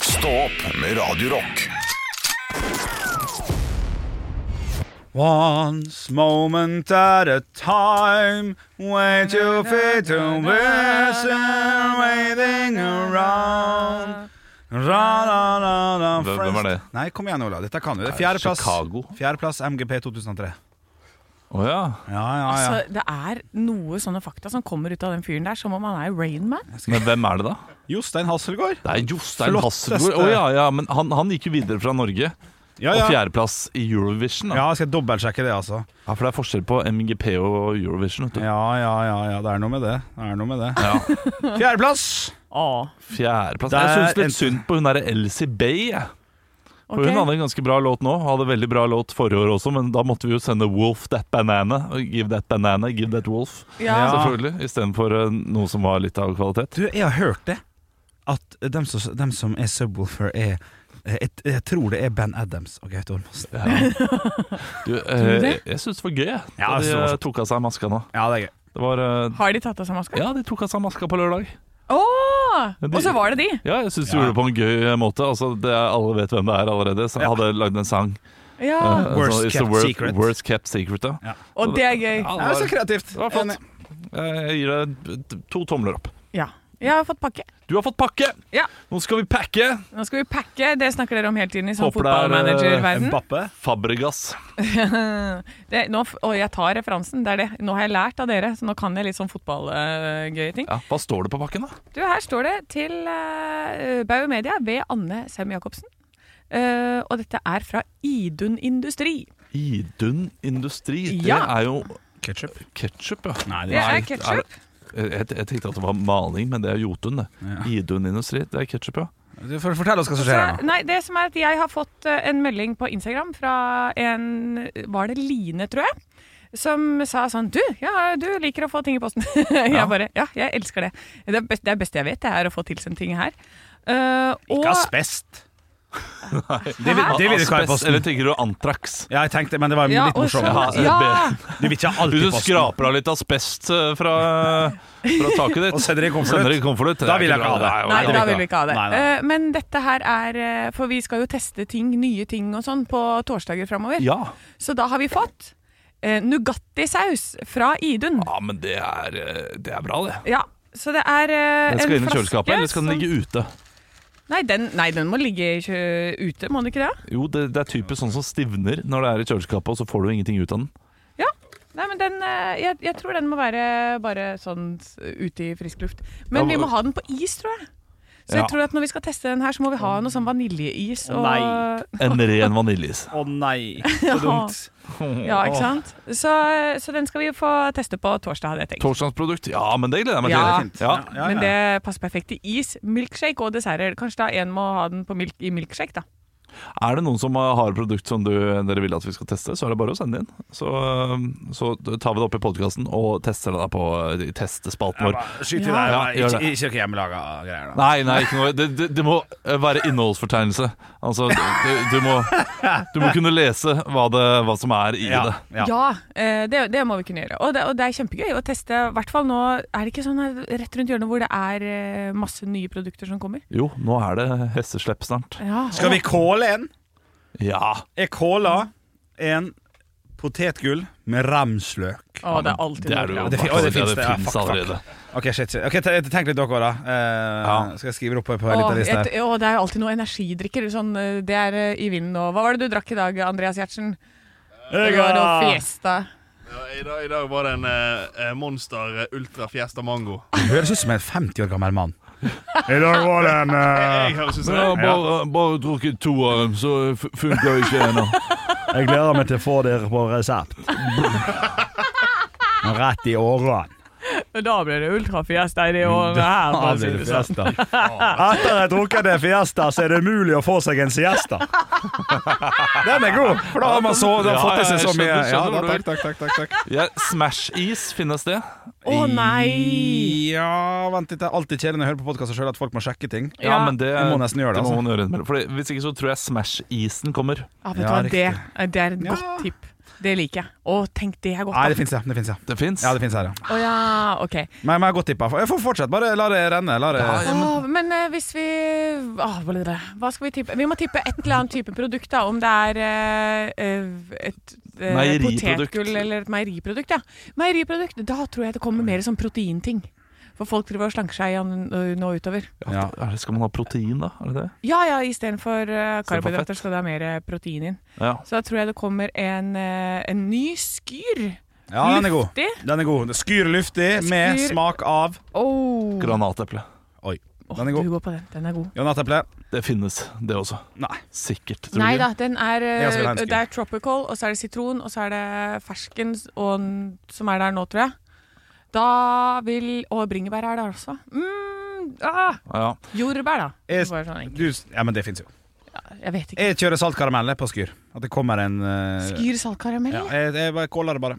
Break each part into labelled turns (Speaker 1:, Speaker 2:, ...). Speaker 1: Stå opp med Radio Rock.
Speaker 2: Once moment at a time, way too fit to listen, waiting around. Ra, ra, ra, ra,
Speaker 3: Hvem- hvem var det?
Speaker 2: Nei, kom igjen, Ola. Dette kan du. Det er Fjerdeplass
Speaker 3: Chicago?
Speaker 2: Fjerdeplass MGP 2003.
Speaker 3: Å ja.
Speaker 2: Ja, ja, Ah, ja.
Speaker 4: Altså, det er noe sånne fakta som kommer ut av den fyren der, som om han er Rain Man.
Speaker 3: Men hvem er det, da?
Speaker 2: Jostein Hasselgaard.
Speaker 3: Det er Jostein
Speaker 2: Flotteste.
Speaker 3: Hasselgaard. Å ja, ja, men han, han gikk jo videre fra Norge.
Speaker 2: Ja,
Speaker 3: Og
Speaker 2: ja.
Speaker 3: fjerdeplass i Eurovision. Da.
Speaker 2: ja, skal jeg dobbeltsjekke det, altså.
Speaker 3: Ja. For det er forskjell på MGP og Eurovision. Vet du.
Speaker 2: Ja, ja, ja, ja. Det er noe med det. Det er noe med det.
Speaker 3: Ja.
Speaker 2: Fjerdeplass!
Speaker 4: Ah,
Speaker 3: Fjerdeplass.
Speaker 2: Det
Speaker 3: Jeg
Speaker 2: er
Speaker 3: syns litt
Speaker 2: en-
Speaker 3: synd på hun derre Elsie Bay. jeg. For
Speaker 4: ok.
Speaker 3: Hun hadde en ganske bra låt nå. Hadde veldig bra låt forrige år også, men da måtte vi jo sende 'Wolf That Banana'. og 'Give That Banana', 'Give That Wolf'.
Speaker 4: Ja.
Speaker 2: Ja.
Speaker 3: Selvfølgelig. Istedenfor eh, noe som var litt av kvalitet.
Speaker 2: Du, jeg har hørt det. At dem som, dem som er Subwoolfer, er jeg, jeg tror det er Ben Adams og Gaute Ormås.
Speaker 3: Ja. Du,
Speaker 4: du
Speaker 3: eh, jeg
Speaker 4: det?
Speaker 3: jeg syns det var gøy jeg,
Speaker 2: Ja,
Speaker 3: da de
Speaker 2: det var
Speaker 3: eh, tok av seg maska nå.
Speaker 2: Ja, det er gøy.
Speaker 3: Det var eh,
Speaker 4: Har de tatt av seg maska?
Speaker 3: Ja, de tok av seg maska på lørdag.
Speaker 4: Åh!
Speaker 3: Ja, de-
Speaker 4: Og så var det de!
Speaker 3: Ja, jeg syns de
Speaker 2: Ja.
Speaker 3: gjorde det på en gøy eh, måte. Altså, det er, alle vet hvem det er allerede. Så jeg
Speaker 2: Ja.
Speaker 3: hadde lagd en sang.
Speaker 4: Ja,
Speaker 3: eh, sånn,
Speaker 2: Worst
Speaker 3: it's
Speaker 2: Kept
Speaker 3: the worst,
Speaker 2: Secret.
Speaker 3: Worst kept secret ja.
Speaker 4: Og det er
Speaker 3: Ja,
Speaker 4: gøy.
Speaker 2: Det er så
Speaker 3: det var,
Speaker 2: kreativt.
Speaker 3: det var
Speaker 2: Enig.
Speaker 3: flott. Eh, Jeg gir deg t- to tomler opp.
Speaker 4: Ja. Jeg har fått pakke.
Speaker 3: Du har fått pakke!
Speaker 4: Ja.
Speaker 3: Nå skal vi pakke!
Speaker 4: Nå skal vi pakke. Det snakker dere om hele tiden i sånn
Speaker 3: Håper det er, eh,
Speaker 4: fotballmanager-verden.
Speaker 2: Mbappe.
Speaker 3: Fabregas.
Speaker 4: Det- nå f- Og jeg tar referansen. Det er det. Nå har jeg lært av dere, så nå kan jeg litt sånn fotballgøye ting.
Speaker 3: Ja, hva står det på pakken, da?
Speaker 4: Du, her står det til uh, Baumedia ved Anne Sem-Jacobsen. Eh, og dette er fra Idun Industri.
Speaker 3: Idun Industri. Det
Speaker 4: Ja.
Speaker 3: er jo
Speaker 2: Ketchup.
Speaker 3: ketsjup, ja.
Speaker 2: Nei,
Speaker 4: Det er
Speaker 3: er
Speaker 4: ketsjup.
Speaker 3: det- Jeg, jeg, jeg tenkte at det var maling, men det er Jotun, det.
Speaker 2: Ja.
Speaker 3: Idun Industri, det er ketsjup, ja.
Speaker 2: Du får fortelle oss hva som skjer her
Speaker 4: Så,
Speaker 2: nå.
Speaker 4: nei, det som er at jeg har fått eh, en melding på Instagram fra en Var det Line, tror jeg? Som sa sånn Du, ja, du liker å få ting i posten. jeg bare Ja, jeg elsker det. Det er best- det er beste jeg vet, det er å få tilsendt ting her. Eh, og
Speaker 2: asbest. Det vil,
Speaker 4: Hæ?
Speaker 2: det vil du ikke ha i
Speaker 3: Asbest, eller
Speaker 2: posten.
Speaker 3: tenker du antrax?
Speaker 2: Ja, jeg tenkte, men det var
Speaker 4: ja,
Speaker 2: litt
Speaker 4: og så-
Speaker 2: morsomt.
Speaker 3: altså.
Speaker 4: ja,
Speaker 2: Du vil ikke ha alt
Speaker 3: Hvis
Speaker 2: i
Speaker 3: du
Speaker 2: posten.
Speaker 3: skraper av litt asbest eh, fra, fra taket ditt
Speaker 2: Og sender det i konvolutt.
Speaker 3: sender det i konvolutt, det
Speaker 2: Da
Speaker 3: er
Speaker 2: vil jeg
Speaker 3: bra.
Speaker 2: ikke ha det.
Speaker 3: Nei,
Speaker 4: Nei,
Speaker 3: det er
Speaker 4: da
Speaker 3: ikke
Speaker 4: vil vi ikke ha det.
Speaker 2: Nei, nei.
Speaker 4: Eh, Men dette her er eh, For vi skal jo teste ting, nye ting og sånn på torsdager framover.
Speaker 3: Ja.
Speaker 4: Så da har vi fått eh, Nugatti-saus fra Idun.
Speaker 3: ja, men det er, eh, det er bra, det.
Speaker 4: Ja, så det er eh,
Speaker 3: Den skal
Speaker 4: en
Speaker 3: inn i
Speaker 4: flaske
Speaker 3: kjøleskapet, eller skal den
Speaker 4: som-
Speaker 3: ligge ute?
Speaker 4: Nei, den, nei, den må ligge i kjø- ute, må den ikke det?
Speaker 3: Jo, det, det er typisk sånn som stivner når det er i kjøleskapet, og så får du ingenting ut av den.
Speaker 4: Ja. Nei, men den, eh, jeg, jeg tror den må være bare sånn s- ute i frisk luft. Men
Speaker 3: Ja,
Speaker 4: vi
Speaker 3: men-
Speaker 4: må ha den på is, tror jeg. Så
Speaker 3: Ja.
Speaker 4: jeg tror at når vi skal teste den her, så må vi ha noe sånn vaniljeis
Speaker 2: Å,
Speaker 4: og
Speaker 2: nei.
Speaker 3: En ren vaniljeis.
Speaker 2: Å nei, så dumt.
Speaker 4: Ja, ikke sant? Så, så den skal vi få teste på torsdag, hadde jeg tenkt.
Speaker 3: Torsdagsprodukt? Ja, men det gleder jeg meg
Speaker 4: Ja.
Speaker 3: til. Ja.
Speaker 2: Ja, ja.
Speaker 4: Men det passer perfekt til is, milkshake og desserter. Kanskje da en må ha den på milk, i milkshake, da.
Speaker 3: Er det noen som har produkt som du, dere vil at vi skal teste, så er det bare å sende inn. Så, eh, så tar vi det opp i podkasten og tester det da på eh, i testespalten vår.
Speaker 2: Skyt i deg.
Speaker 4: Ja.
Speaker 3: Ja,
Speaker 2: da.
Speaker 3: gjør
Speaker 2: Ikke,
Speaker 3: det.
Speaker 2: ikke noe hjemmelaga greier. da.
Speaker 3: Nei, nei, ikke noe. Det, det, det må eh, være innholdsfortegnelse. Altså, du, du, må, du må kunne lese hva, det, hva som er i
Speaker 2: Ja,
Speaker 3: det.
Speaker 2: ja.
Speaker 4: eh, det, det må vi kunne gjøre. Og det, og det er kjempegøy å teste. I hvert fall nå er det ikke sånn her rett rundt hjørnet hvor det er eh, masse nye produkter som kommer.
Speaker 3: Jo, nå er det hesteslepp snart.
Speaker 4: Ja,
Speaker 2: Skal vi kåle en?
Speaker 3: Ja.
Speaker 2: Jeg kåla en potetgull med ramsløk.
Speaker 4: Å, det er alltid
Speaker 3: Det er jo
Speaker 4: noe
Speaker 2: det
Speaker 4: bra.
Speaker 2: fin-
Speaker 3: bare-
Speaker 2: å, det
Speaker 3: ja,
Speaker 2: finnes det. Ja,
Speaker 3: finnes
Speaker 2: fuck, fuck.
Speaker 3: allerede.
Speaker 2: Ok, shit, shit. Ok, te- Tenk litt dere, da. Eh,
Speaker 3: Ja.
Speaker 2: Skal jeg skrive det opp på på
Speaker 4: Å,
Speaker 2: en liten liste? her
Speaker 4: et, å, det er jo alltid noe energidrikker. Sånn, eh, det er eh, i vinden nå. Hva var det du drakk i dag, Andreas Gjertsen? Det var noe fiesta.
Speaker 5: Ja, i, dag, I dag var det en eh, eh, Monster eh, Ultra Fiesta Mango.
Speaker 2: Du høres ut som en 50 år gammel mann. I dag var det en eh,
Speaker 5: Jeg høres ut som det.
Speaker 3: bare, drukket to av dem, så funker jo ikke ennå.
Speaker 2: Jeg gleder meg til å få dere på resept. Rett i årene.
Speaker 4: Da ble det ultrafiesta i det
Speaker 2: Mm,
Speaker 4: året her. for å si det sånn.
Speaker 2: Etter at jeg drukket en fiesta, så er det umulig å få seg en siesta. Den er god, for da har man så, da har
Speaker 3: Ja,
Speaker 2: fått i seg
Speaker 3: ja,
Speaker 2: så
Speaker 3: jeg
Speaker 2: mye.
Speaker 3: skjønner,
Speaker 2: Ja,
Speaker 3: skjønner
Speaker 2: da,
Speaker 3: hvor du
Speaker 2: takk, takk, takk, takk, takk.
Speaker 3: Ja, Smash-is finnes det.
Speaker 2: sånn.
Speaker 4: Å nei!
Speaker 2: Ja, vent litt. Det er alltid kjedelig når jeg hører på podkaster sjøl at folk må sjekke ting.
Speaker 3: Ja, men det,
Speaker 2: Det må nesten gjøre det,
Speaker 3: det må
Speaker 2: altså.
Speaker 3: man gjøre innimellom. Fordi Hvis ikke så tror jeg Smash-isen kommer.
Speaker 4: Ja, Ah, vet du
Speaker 2: Ja,
Speaker 4: hva,
Speaker 2: riktig.
Speaker 4: det, er- det er et
Speaker 2: Ja.
Speaker 4: godt tipp. Det liker jeg. Å, tenk det er godt.
Speaker 2: Nei,
Speaker 4: da.
Speaker 2: det fins, ja. Det finnes, ja.
Speaker 3: Det fins.
Speaker 2: Ja, det finnes her, ja.
Speaker 4: Å ja, ok.
Speaker 2: Men men jeg har godt tippa. Jeg får fortsette, bare la det renne. La det...
Speaker 3: Ja,
Speaker 4: Åh, men eh, hvis vi åh, hva blir det? Hva skal vi tippe? Vi må tippe et eller annet type produkt, da. Om det er eh, eh, et eh,
Speaker 3: Meieriprodukt.
Speaker 4: potetgull eller et meieriprodukt. Ja. Meieriprodukt, da tror jeg det kommer mer som proteinting. For folk driver og slanker seg an- nå utover.
Speaker 2: Ja.
Speaker 3: Er det- Skal man ha protein, da? Er det det?
Speaker 4: Ja ja, istedenfor uh,
Speaker 3: for
Speaker 4: karbohydrater
Speaker 3: fett.
Speaker 4: skal det ha mer eh, protein inn.
Speaker 3: Ja.
Speaker 4: Så da tror jeg det kommer en, eh, en ny skyr.
Speaker 2: ja, den er god.
Speaker 4: Luftig.
Speaker 2: Den er god. Skyr luftig med
Speaker 4: Skyr-
Speaker 2: smak av
Speaker 4: Oh.
Speaker 3: Granateple.
Speaker 2: Oi.
Speaker 4: Åh,
Speaker 2: Den er god.
Speaker 4: Du går på den. Den er god.
Speaker 2: Granateple.
Speaker 3: Det finnes, det også.
Speaker 2: Nei.
Speaker 3: Sikkert. tror
Speaker 4: Nei
Speaker 3: du
Speaker 4: da,
Speaker 3: ikke?
Speaker 4: den er,
Speaker 2: Jeg også vil ha en
Speaker 4: eh,
Speaker 2: skyr.
Speaker 4: det er tropical, og så er det sitron, og så er det fersken s- og, n- som er der nå, tror jeg. Da vil Og bringebær er der også. Mm, ah,
Speaker 3: Ja.
Speaker 4: jordbær, da.
Speaker 2: Jeg,
Speaker 4: Bare sånn enkelt.
Speaker 2: du, ja, men det fins jo.
Speaker 4: Jeg vet ikke.
Speaker 2: Jeg kjører saltkaramell jeg, på skyr. At det kommer en eh,
Speaker 4: Skyr saltkaramell?
Speaker 2: Ja,
Speaker 4: Ja.
Speaker 2: jeg, jeg bare caller det bare.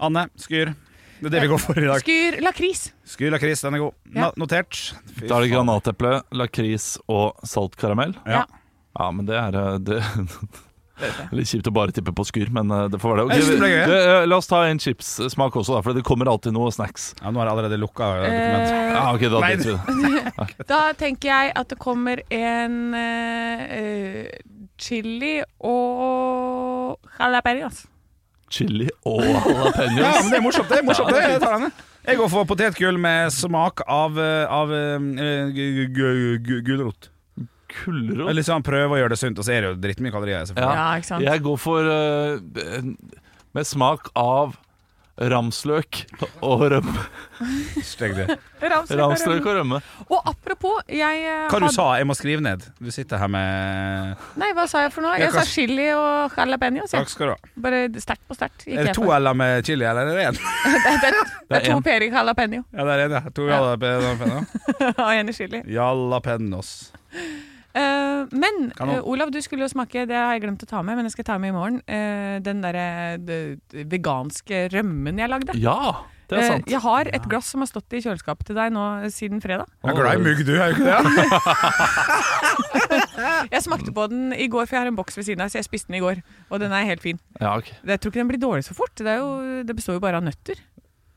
Speaker 2: Anne, skyr. Det er det vi går for i dag.
Speaker 4: Skyr lakris.
Speaker 2: Skyr lakris, den er god.
Speaker 4: Ja.
Speaker 2: Na- Notert. Fy
Speaker 3: Da er det
Speaker 2: faen.
Speaker 3: granateple, lakris og saltkaramell.
Speaker 2: Ja.
Speaker 3: Ja, men det er eh, det, Litt kjipt å bare tippe på skur, men eh, det får være det.
Speaker 2: Jeg synes det ble gøy.
Speaker 3: det, eh, la oss ta en chipssmak også, da, for det kommer alltid noe snacks.
Speaker 2: Ja, nå har jeg allerede lukka dokumentet.
Speaker 4: Eh,
Speaker 3: Ja, ok, da
Speaker 2: Nei,
Speaker 3: driter vi i det.
Speaker 4: da tenker jeg at det kommer en eh, eh, chili og jalapeños.
Speaker 3: Chili og jalapeños.
Speaker 2: Ja, men det er morsomt, det. er morsomt det. Jeg tar den. Jeg går for potetgull med smak av, eh, av eh, gu- gu- gu- gulrot.
Speaker 3: Kulrot.
Speaker 2: Eller sånn, prøve å gjøre det sunt, og så er det jo drittmye kalorier. selvfølgelig.
Speaker 4: Ja, ikke sant?
Speaker 3: Jeg går for eh, en- med smak av ramsløk og rømme.
Speaker 2: Stygg du.
Speaker 4: Ramsløk og
Speaker 3: Ramsløk
Speaker 4: rømme.
Speaker 3: og rømme.
Speaker 4: Og apropos, jeg eh,
Speaker 2: Hva du sa Jeg må skrive ned. Du sitter her med
Speaker 4: Nei, hva sa jeg for noe?
Speaker 2: Ja,
Speaker 4: Jeg sa
Speaker 2: hva-
Speaker 4: chili og jalapeños. jeg.
Speaker 2: Takk skal du ha.
Speaker 4: Bare sterkt på sterkt. gikk
Speaker 2: Er det
Speaker 4: jeg
Speaker 2: to
Speaker 4: for.
Speaker 2: L-er med chili, eller er det én?
Speaker 4: Det er
Speaker 3: Det er
Speaker 4: to
Speaker 3: en.
Speaker 4: per i jalapeño
Speaker 2: Ja, det er én, ja. To
Speaker 4: Ja.
Speaker 2: jalapeños.
Speaker 4: og en i chili.
Speaker 2: Jalapeños.
Speaker 4: Eh, men
Speaker 2: Kanon.
Speaker 4: eh, Olav, du skulle jo smake, det har jeg glemt å ta med, men jeg skal ta med i morgen, eh, den derre det- det veganske rømmen jeg lagde.
Speaker 3: Ja, det er
Speaker 4: Eh,
Speaker 3: sant.
Speaker 4: jeg har et glass som har stått i kjøleskapet til deg nå eh, siden fredag.
Speaker 2: Jeg er glad i mugg, du, er du ikke det?
Speaker 4: Jeg
Speaker 3: Mm.
Speaker 4: smakte på den i går, for jeg har en boks ved siden av, så jeg spiste den i går. Og den er helt fin.
Speaker 3: Ja, ok.
Speaker 4: Jeg tror ikke den blir dårlig så fort. Det, er jo, det består jo bare av nøtter.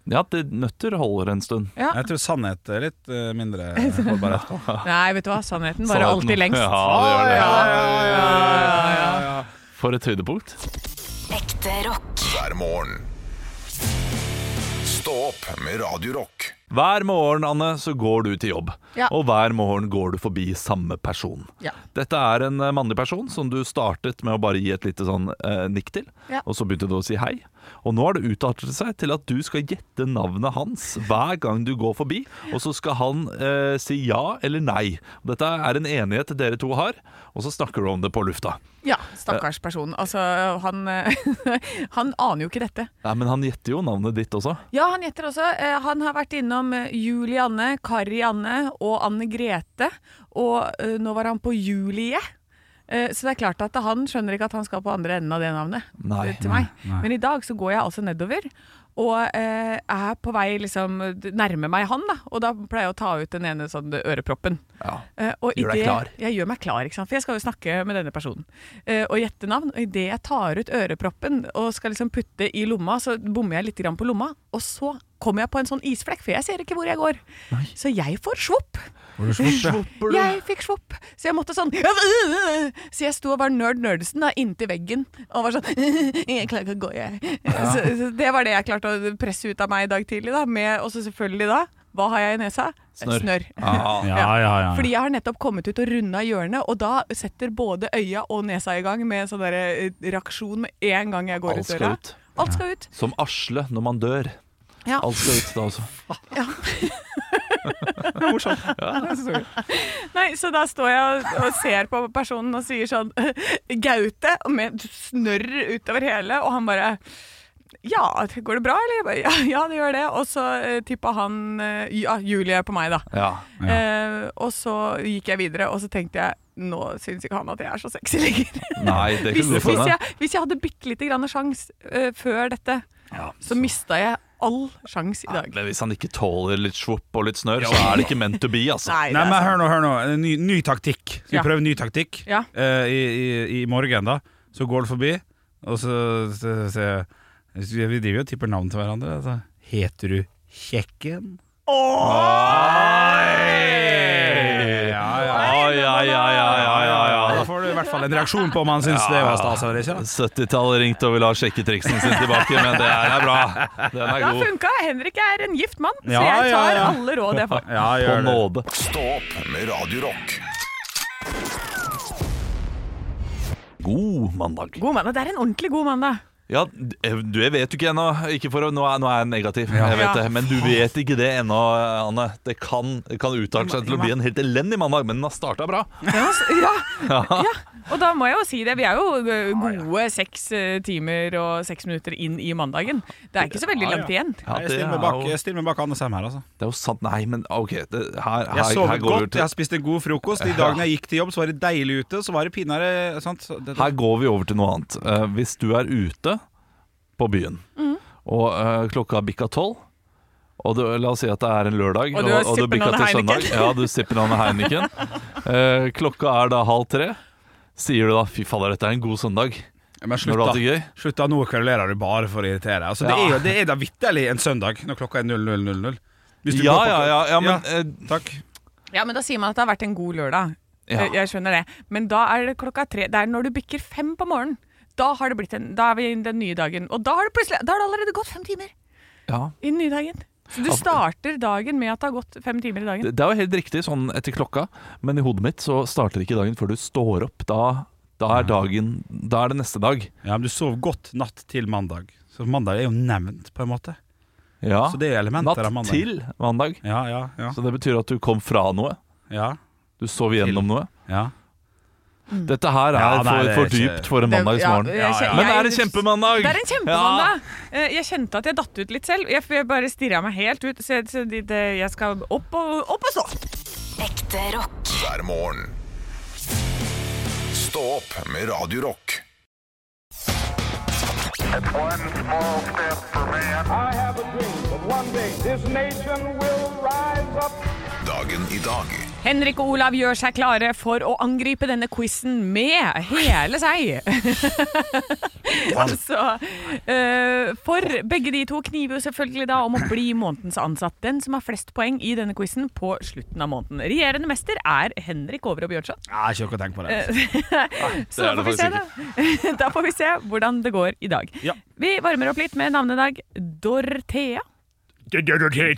Speaker 3: ja det, nøtter holder en stund.
Speaker 4: Ja.
Speaker 2: Jeg tror sannhet er litt eh, mindre holdbarhet.
Speaker 4: Nei, vet du hva, sannheten varer
Speaker 3: Sannheten.
Speaker 4: alltid lengst.
Speaker 3: Ja, det gjør det.
Speaker 2: ja.
Speaker 3: For et høydepunkt.
Speaker 6: Ekte rock.
Speaker 1: hver morgen. Stå opp med Radio Rock.
Speaker 3: Hver morgen Anne, så går du til jobb,
Speaker 4: Ja.
Speaker 3: og hver morgen går du forbi samme person.
Speaker 4: Ja.
Speaker 3: Dette er en eh, mannlig person som du startet med å bare gi et lite sånn eh, nikk til,
Speaker 4: Ja.
Speaker 3: og så begynte du å si hei. Og nå har det utartet seg til at du skal gjette navnet hans hver gang du går forbi, og så skal han eh, si ja eller nei. Dette er en enighet dere to har, og så snakker du om det på lufta.
Speaker 4: Ja, stakkars person. Altså, han, eh, han aner jo ikke dette.
Speaker 3: Nei, men han gjetter jo navnet ditt også.
Speaker 4: Ja, han gjetter også. Eh, Han har vært innom eh, Julianne, Karianne og Anne Grete. Og eh, nå var han på Julie. Eh, Så det er klart at han skjønner ikke at han skal på andre enden av det navnet.
Speaker 3: Nei.
Speaker 4: eh, til meg. Men i dag så går jeg altså nedover. Og eh, er på vei liksom nærme meg han, da. Og da pleier jeg å ta ut den ene sånn øreproppen.
Speaker 3: Ja.
Speaker 4: Eh, og i
Speaker 3: Gjør deg
Speaker 4: det-
Speaker 3: klar.
Speaker 4: Jeg gjør meg klar, ikke sant? for jeg skal jo snakke med denne personen. Eh, og gjette navn. Og idet jeg tar ut øreproppen og skal liksom putte i lomma, så bommer jeg litt grann på lomma. Og så kommer jeg på en sånn isflekk, for jeg ser ikke hvor jeg går. Så jeg får svopp. Jeg fikk svopp. Så jeg måtte sånn Så jeg sto og var nerd nerdesen da, inntil veggen. Og var sånn Jeg klarer ikke å gå, jeg. Så, så det var det jeg klarte å presse ut av meg i dag tidlig. da med, Og så selvfølgelig da Hva har jeg i nesa?
Speaker 3: Snørr.
Speaker 4: Snørr.
Speaker 3: Ja.
Speaker 2: Ja, ja, ja.
Speaker 4: Fordi jeg har nettopp kommet ut og runda hjørnet, og da setter både øya og nesa i gang med sånn der, eh, reaksjon med en gang jeg går
Speaker 3: Alt
Speaker 4: ut
Speaker 3: skal
Speaker 4: døra.
Speaker 3: ut.
Speaker 4: Alt skal ut.
Speaker 3: Som Asle når man dør.
Speaker 4: Ja.
Speaker 3: Alt skal ut da også.
Speaker 4: Nei, så da står jeg og, og ser på personen og sier sånn Gaute, og med snørr utover hele, og han bare ja, går det bra, eller? Jeg bare, Ja, ja det gjør det. Og så eh, tippa han eh, ja, Julie på meg, da.
Speaker 3: Ja.
Speaker 4: Eh, og så gikk jeg videre, og så tenkte jeg nå syns ikke han at jeg er så sexy lenger.
Speaker 3: Nei, det kunne
Speaker 4: Hvis,
Speaker 3: du
Speaker 4: hvis,
Speaker 3: få
Speaker 4: jeg, hvis jeg hadde bitte lite grann sjans eh, før dette, så mista jeg all sjanse i dag.
Speaker 3: Men hvis han ikke tåler litt svopp og litt snørr, så er det ikke meant to be, altså.
Speaker 4: Nei, det
Speaker 2: Nei,
Speaker 4: er
Speaker 2: men
Speaker 4: sant.
Speaker 2: hør nå, hør nå. En Ny, ny taktikk. Skal vi
Speaker 4: Ja.
Speaker 2: prøve en ny taktikk?
Speaker 4: Ja.
Speaker 2: Eh, i, i, I morgen, da. Så går du forbi, og så så- så- så- Vi driver jo og tipper navn til hverandre. Altså. Heter du Kjekken? Oi! Ja, ja.
Speaker 3: Ja, ja, ja, ja, ja, ja,
Speaker 2: Ja,
Speaker 3: ja.
Speaker 2: da får du i hvert fall en reaksjon på om han syns det var stas eller ikke. Da.
Speaker 3: 70-tallet ringte og ville ha sjekketriksen sin tilbake, men det er er bra. Den er
Speaker 4: Det har
Speaker 3: god.
Speaker 4: funka. Henrik er en gift mann, så
Speaker 2: Ja,
Speaker 4: jeg
Speaker 2: ja,
Speaker 4: tar
Speaker 2: ja.
Speaker 4: alle råd jeg får.
Speaker 3: På
Speaker 2: Ja, gjør det.
Speaker 3: nåde.
Speaker 1: Stå opp med Radio Rock.
Speaker 3: God mandag.
Speaker 4: God mandag. Det er en ordentlig god mandag.
Speaker 3: Ja, d- eh, du, jeg vet jo ikke ennå. Ikke for å, nå, er, nå er jeg negativ, jeg
Speaker 4: Ja.
Speaker 3: vet det. Men du vet ikke det ennå, Anne. Det kan, det kan utarte seg til å bli en helt elendig mandag, men den har starta bra.
Speaker 4: Ja, s- ja. ja. Og da må jeg jo si det. Vi er jo ø, gode seks ø, timer og seks minutter inn i mandagen. Det er ikke så veldig langt igjen.
Speaker 3: Ja,
Speaker 2: Jeg
Speaker 3: det,
Speaker 2: stiller
Speaker 3: er
Speaker 2: meg bak,
Speaker 3: jo,
Speaker 2: jeg stiller meg bak Anne Sem her, altså.
Speaker 3: det er jo sant. Nei, men OK. Det, her, her,
Speaker 2: Jeg sover
Speaker 3: her går vi
Speaker 2: godt,
Speaker 3: over
Speaker 2: jeg har
Speaker 3: til,
Speaker 2: spist en god frokost. De dagene jeg gikk til jobb, så var det deilig ute. Så var det pinadø sant? Så det-
Speaker 3: her går vi over til noe annet. Eh, hvis du er ute på byen,
Speaker 4: Mm.
Speaker 3: og eh, klokka bikka tolv og du, La oss si at det er en lørdag,
Speaker 4: Og du sipper
Speaker 3: bikka
Speaker 4: noen
Speaker 3: til søndag.
Speaker 4: Heineken.
Speaker 3: Ja, du sipper noen Heineken. Eh, klokka er da halv tre. Sier du da 'fy fader, dette er en god søndag'?
Speaker 2: Men
Speaker 3: Når du har hatt det
Speaker 2: slutt,
Speaker 3: gøy?
Speaker 2: da. Slutt da, nå kverulerer du bare for å irritere. deg. Altså, det,
Speaker 3: Ja.
Speaker 2: er, jo- det er da vitterlig en søndag når klokka er 00.00. Hvis du
Speaker 3: Ja,
Speaker 2: går på-
Speaker 3: ja, ja, ja, men
Speaker 2: Ja.
Speaker 3: eh,
Speaker 2: Takk.
Speaker 4: Ja, men da sier man at det har vært en god lørdag.
Speaker 3: Ja.
Speaker 4: Jeg- Eh, Jeg skjønner det. Men da er det klokka tre. Det er når du bikker fem på morgenen. Da, har det blitt en, da er vi i den nye dagen. Og da har det plutselig Da har det allerede gått fem timer
Speaker 3: ja.
Speaker 4: i den nye dagen. Så du starter dagen med at det har gått fem timer i dagen.
Speaker 3: Det det er jo helt riktig sånn etter klokka, men i hodet mitt så starter ikke dagen før du står opp. Da, da
Speaker 2: Mm.
Speaker 3: er dagen Da er det neste dag.
Speaker 2: Ja, men du sov godt natt til mandag. Så mandag er jo nevnt, på en måte.
Speaker 3: Ja.
Speaker 2: Så det er elementer
Speaker 3: Natt
Speaker 2: av mandag.
Speaker 3: til mandag.
Speaker 2: Ja, ja, ja.
Speaker 3: Så det betyr at du kom fra noe.
Speaker 2: Ja.
Speaker 3: Du sov igjennom noe.
Speaker 2: ja.
Speaker 3: Dette her er
Speaker 2: Ja, nei, det
Speaker 3: for,
Speaker 2: er
Speaker 3: for
Speaker 2: ikke-
Speaker 3: dypt for en mandagsmorgen.
Speaker 4: jeg kjen-
Speaker 2: Ja, ja.
Speaker 3: Men det er en
Speaker 4: jeg-
Speaker 3: kjempemandag!
Speaker 4: Det er en kjempemandag. Eh, Jeg kjente at jeg datt ut litt selv. Jeg- for Jeg bare stirra meg helt ut. Så jeg, så det- det- eh, jeg skal opp og, opp og stå.
Speaker 6: Ekte rock.
Speaker 1: hver morgen. Stå opp med Radio Rock.
Speaker 7: I have a dream that one day this nation will rise up.
Speaker 1: Dagen i dag
Speaker 4: Henrik og Olav gjør seg klare for å angripe denne quizen med hele seg. altså, eh, for begge de to kniver jo selvfølgelig da om å bli månedens ansatt. Den som har flest poeng i denne quizen på slutten av måneden. Regjerende mester er Henrik Over og Bjørnson.
Speaker 2: ja ikke noe å tenke på det.
Speaker 4: Så
Speaker 3: er
Speaker 4: da får,
Speaker 3: det
Speaker 4: vi se, da. da får vi se hvordan det går i dag.
Speaker 2: Ja.
Speaker 4: Vi varmer opp litt med navnedag. Dorthea. Ja, det, er gøy.
Speaker 3: Er, er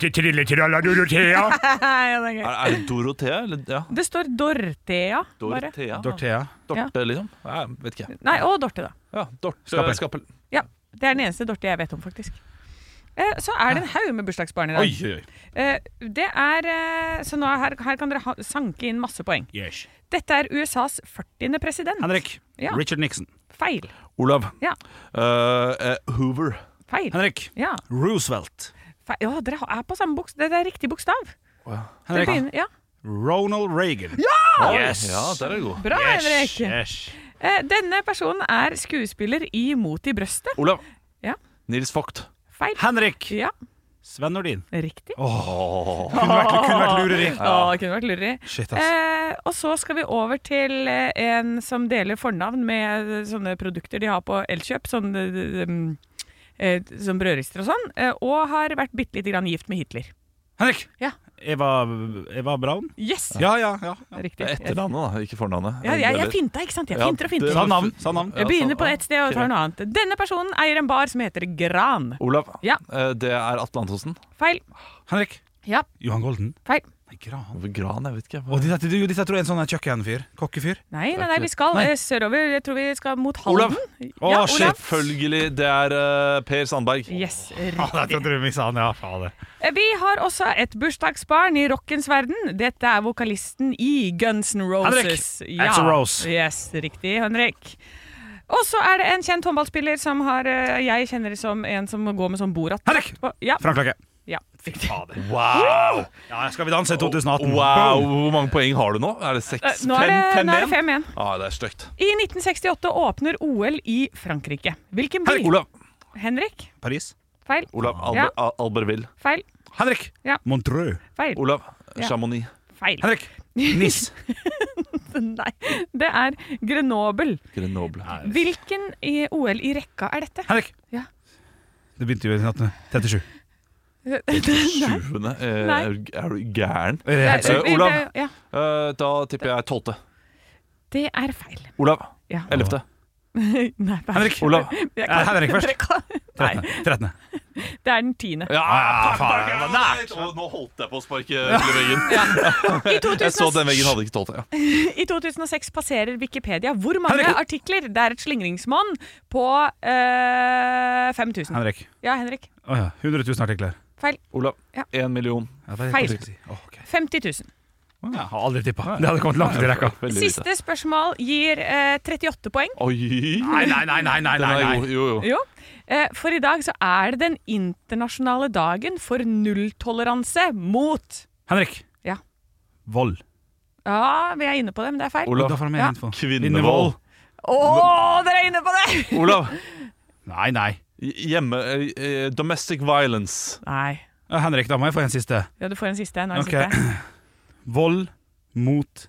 Speaker 3: det Dorothea, eller? Ja.
Speaker 4: det står Dorthea. Bare.
Speaker 3: Dorothea?
Speaker 2: Dorthea.
Speaker 3: Dorte, liksom? Ja, jeg vet ikke.
Speaker 4: Nei, og Dorte, da.
Speaker 3: Ja, Dorte
Speaker 2: Skappel.
Speaker 3: Skappel.
Speaker 4: Ja, Det er den eneste Dorte jeg vet om, faktisk. Eh, Så er det en haug med bursdagsbarn i
Speaker 2: Oi,
Speaker 4: dag.
Speaker 2: oi, oi.
Speaker 4: Eh, Det er, eh, så nå her, her kan dere ha, sanke inn masse poeng.
Speaker 2: Yes.
Speaker 4: Dette er USAs 40. president.
Speaker 2: Henrik.
Speaker 4: Ja.
Speaker 2: Richard Nixon.
Speaker 4: Feil.
Speaker 3: Olav.
Speaker 4: Ja,
Speaker 3: Eh, eh, Hoover.
Speaker 4: feil.
Speaker 2: Henrik.
Speaker 4: Ja,
Speaker 2: Roosevelt.
Speaker 4: feil. ja dere er på samme bokstav. Det er riktig bokstav. Dere
Speaker 2: Henrik.
Speaker 4: begynner- Ja.
Speaker 2: Ronald Reagan. Yes.
Speaker 3: Ja, der er du god.
Speaker 4: Bra,
Speaker 2: Yes.
Speaker 4: Henrik!
Speaker 2: yes.
Speaker 4: Eh, Denne personen er skuespiller i Mot i brøstet.
Speaker 3: Olav.
Speaker 4: Ja.
Speaker 3: Nils Vogt.
Speaker 4: Feil.
Speaker 2: Henrik.
Speaker 4: Ja,
Speaker 2: Sven Nordin.
Speaker 4: riktig.
Speaker 2: Kunne vært, kunne vært lureri.
Speaker 4: Å, det kunne vært lureri.
Speaker 2: Shit, ass.
Speaker 4: Eh, og så skal vi over til eh, en som deler fornavn med eh, sånne produkter de har på Elkjøp, sånn, eh, mm, eh, som brødrister og sånn, eh, og har vært bitte lite grann gift med Hitler.
Speaker 2: Henrik.
Speaker 4: Ja.
Speaker 2: Eva, Eva Braun?
Speaker 4: Yes!
Speaker 2: Ja, ja. ja.
Speaker 4: Riktig.
Speaker 3: Det er etternavnet, da, ikke fornavnet.
Speaker 4: Ja, jeg, jeg finta, ikke sant? Jeg
Speaker 3: Ja,
Speaker 4: finter og
Speaker 3: det-
Speaker 4: finter.
Speaker 2: Sa navn. Sa navn.
Speaker 4: Jeg begynner
Speaker 3: sånn,
Speaker 4: på ett sted og tar noe annet. Denne personen eier en bar som heter Gran.
Speaker 3: Olav,
Speaker 4: Ja.
Speaker 3: eh, det er Atle Antonsen.
Speaker 4: Feil.
Speaker 2: Henrik.
Speaker 4: Ja,
Speaker 2: Johan Golden.
Speaker 4: feil.
Speaker 2: Nei, Gran.
Speaker 3: Hvorfor Gran, jeg vet ikke.
Speaker 2: Og dette, dette, dette tror jeg er en sånn her kjøkkenfyr. Kokkefyr.
Speaker 4: Nei, nei, nei, vi skal eh, sørover. Jeg tror vi skal mot
Speaker 3: Olav.
Speaker 4: Halden.
Speaker 2: Å,
Speaker 4: Ja,
Speaker 2: shit.
Speaker 4: Olav.
Speaker 3: Selvfølgelig, det er eh, Per Sandberg.
Speaker 4: Yes,
Speaker 2: Ja,
Speaker 4: riktig.
Speaker 2: jeg trodde du miksa han, ja. faen det.
Speaker 4: Eh, Vi har også et bursdagsbarn i rockens verden. Dette er vokalisten i Guns N' Roses.
Speaker 2: Henrik. Axl Rose.
Speaker 4: Yes, riktig, Henrik. Og så er det en kjent håndballspiller som har, eh, jeg kjenner som en som går med sånn borat.
Speaker 2: Henrik!
Speaker 4: Ja,
Speaker 2: Frankrike.
Speaker 4: ja. Eh,
Speaker 3: Wow!
Speaker 2: Ja, jeg skal vi danse i 2018?
Speaker 3: wow!
Speaker 2: Boom.
Speaker 3: Hvor mange poeng har du nå? Er det
Speaker 4: Eh,
Speaker 3: seks?
Speaker 4: Nå er det, nå er det
Speaker 3: igjen?
Speaker 4: fem igjen.
Speaker 3: Ja, det er stygt.
Speaker 4: I 1968 åpner OL i Frankrike. Hvilken by?
Speaker 3: Olav.
Speaker 4: Henrik?
Speaker 2: Paris.
Speaker 4: Feil.
Speaker 3: Olav Alber, A- Albertville.
Speaker 4: Feil.
Speaker 2: Henrik!
Speaker 4: Ja.
Speaker 2: Montreux.
Speaker 4: Feil.
Speaker 3: Olav
Speaker 4: Ja.
Speaker 3: Chamonix.
Speaker 4: Feil.
Speaker 2: Henrik! Nis.
Speaker 4: Nei. Det er Grenoble.
Speaker 3: Grenoble.
Speaker 4: Hvilken i OL i rekka er dette?
Speaker 2: Henrik!
Speaker 4: Ja.
Speaker 2: Det begynte jo i 1837.
Speaker 3: Sjuende? Eh,
Speaker 4: Nei.
Speaker 3: er du- er du gæren?
Speaker 2: Er det helt
Speaker 4: Det-
Speaker 2: sykt?
Speaker 3: Eh, Olav.
Speaker 4: Ja,
Speaker 3: Eh, da tipper jeg tolvte.
Speaker 4: det er feil.
Speaker 3: Olav.
Speaker 4: Ja.
Speaker 3: Ellevte.
Speaker 4: Nei, feil.
Speaker 2: Henrik.
Speaker 3: Olav.
Speaker 4: Jeg
Speaker 2: Eh,
Speaker 4: kan-
Speaker 2: Henrik først.
Speaker 4: Jeg kan- Nei,
Speaker 2: 13. 13.
Speaker 4: det er den tiende.
Speaker 3: Ja,
Speaker 2: Ah, faen,
Speaker 3: fuck, jeg
Speaker 2: jeg var
Speaker 3: var nært. Å, Nå holdt jeg på å sparke til veggen.
Speaker 4: I
Speaker 3: Jeg så
Speaker 4: 2006
Speaker 3: den veggen hadde ikke tålt det. Ja.
Speaker 4: I 2006 passerer Wikipedia hvor mange
Speaker 2: Henrik.
Speaker 4: artikler? Det er et slingringsmonn på eh, 5000.
Speaker 2: Henrik.
Speaker 4: Ja, Henrik.
Speaker 2: Å ja. 100 000 artikler.
Speaker 4: Feil.
Speaker 3: Olav.
Speaker 4: Ja.
Speaker 3: Én million.
Speaker 2: Ja, det er
Speaker 4: Feil.
Speaker 2: helt sykt. Å, ok.
Speaker 4: 50 000.
Speaker 2: Jeg har aldri tippa. Det hadde kommet langt ut i rekka.
Speaker 3: Veldig lite.
Speaker 4: Siste spørsmål gir eh, 38 poeng.
Speaker 3: Oi!
Speaker 2: Nei, nei, nei, nei, nei,
Speaker 3: Den
Speaker 2: nei,
Speaker 3: er
Speaker 2: nei.
Speaker 3: jo, jo, jo.
Speaker 4: Jo. Eh, for i dag så er det den internasjonale dagen for nulltoleranse mot
Speaker 2: Henrik.
Speaker 4: Ja.
Speaker 2: Vold.
Speaker 4: Ja, vi er inne på det, men det er feil.
Speaker 3: Olav.
Speaker 2: Da får han mer
Speaker 4: Ja.
Speaker 2: info.
Speaker 3: Kvinnevold.
Speaker 4: Å, dere er inne på det!
Speaker 3: Olav.
Speaker 2: Nei, nei.
Speaker 3: Hjemme eh, eh, Domestic violence.
Speaker 4: Nei.
Speaker 2: Ja, Henrik, da må jeg få en siste.
Speaker 4: Ja, du får en siste. Nå er det
Speaker 2: Ok.
Speaker 4: siste.
Speaker 2: Vold mot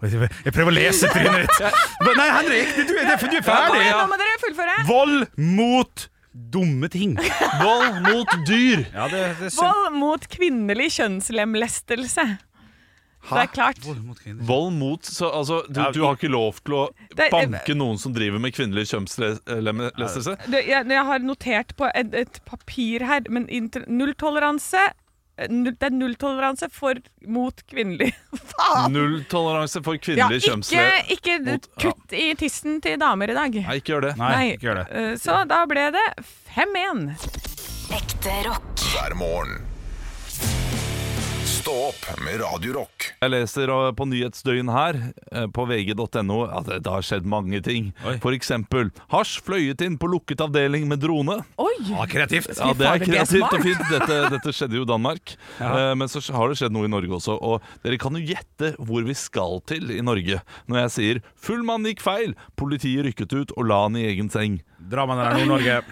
Speaker 2: Oi, Jeg jeg prøver å lese trynet ditt. Nei, Henrik, du, du, er- du er
Speaker 4: Kom
Speaker 2: ferdig.
Speaker 4: igjen, nå må dere fullføre.
Speaker 2: Vold mot dumme ting.
Speaker 3: Vold mot dyr.
Speaker 2: Ja, det, det er
Speaker 4: Vold mot kvinnelig kjønnslemlestelse. Det er klart.
Speaker 2: Vold mot kvinner.
Speaker 3: Vold mot så, altså, du, du har ikke lov til å
Speaker 4: Det-
Speaker 3: banke noen som driver med kvinnelig eh, kjønnslemlestelse.
Speaker 4: Du, jeg, jeg har notert på et, et papir her, men inter, nulltoleranse eh, null, Det er nulltoleranse for mot kvinnelig Faen!
Speaker 3: Nulltoleranse for
Speaker 4: Ja,
Speaker 3: kvinnelig
Speaker 4: ikke,
Speaker 3: kjønnslemlestelse.
Speaker 4: ikke
Speaker 3: mot- ja.
Speaker 4: kutt i tissen til damer i dag.
Speaker 3: Nei, ikke gjør det.
Speaker 2: Nei, ikke gjør det.
Speaker 4: Eh, Så da ble det 5-1.
Speaker 6: Ekte rock.
Speaker 1: hver morgen. Stå opp med Radio Rock.
Speaker 3: Jeg leser eh, på nyhetsdøgn her eh, på vg.no at det har skjedd mange ting.
Speaker 2: Oi.
Speaker 3: For eksempel hasj fløyet inn på lukket avdeling med drone.
Speaker 4: Oi!
Speaker 2: Ja, kreativt.
Speaker 3: Ja, Det er
Speaker 4: fader, det er
Speaker 3: kreativt og
Speaker 4: smart.
Speaker 3: fint. Dette, dette skjedde jo i Danmark. Eh, Men så har det skjedd noe i Norge også. Og dere kan jo gjette hvor vi skal til i Norge når jeg sier 'full mann gikk feil', politiet rykket ut og la han i egen seng.
Speaker 2: Drammen eller Nord-Norge.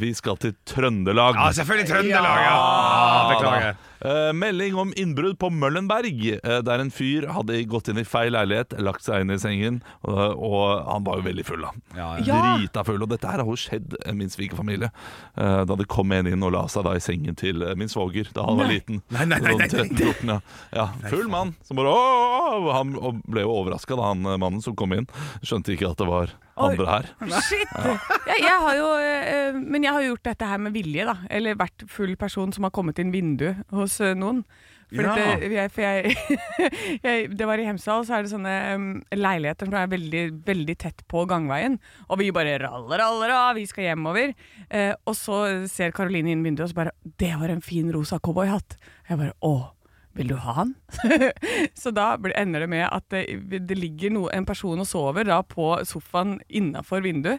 Speaker 3: Vi skal til Trøndelag.
Speaker 2: Ja, selvfølgelig Trøndelag. Ja. Ah, Beklager.
Speaker 3: Eh, melding om innbrudd på Møllenberg, eh, der en fyr hadde gått inn i feil leilighet, lagt seg inn i sengen, eh, og han var jo veldig full, da.
Speaker 2: Ja,
Speaker 4: Ja.
Speaker 3: Drita full. Og dette her har jo skjedd eh, min svigerfamilie, eh, da det kom en inn og la seg da i sengen til eh, min svoger da han var liten.
Speaker 2: Nei, nei, nei, nei, nei.
Speaker 3: Sånn 13-14, ja. ja. Full mann som bare «Åh!» og Han og ble jo overraska da han eh, mannen som kom inn, skjønte ikke at det var andre her.
Speaker 4: Shit! Jeg, jeg har jo, eh, men jeg har gjort dette her med vilje, da. Eller vært full person som har kommet inn vindu hos eh, noen. For,
Speaker 2: Ja.
Speaker 4: dette- jeg, for jeg, jeg, det var i Hemsedal, så er det sånne mm, leiligheter som er veldig, veldig tett på gangveien. Og vi bare raller, raller av, vi skal hjemover. Eh, og så ser Karoline inn vinduet og så bare Det var en fin rosa cowboyhatt. Jeg bare Å. Vil du ha han? så da blir- ender det med at det, det ligger noe, en person og sover da på sofaen innafor vinduet.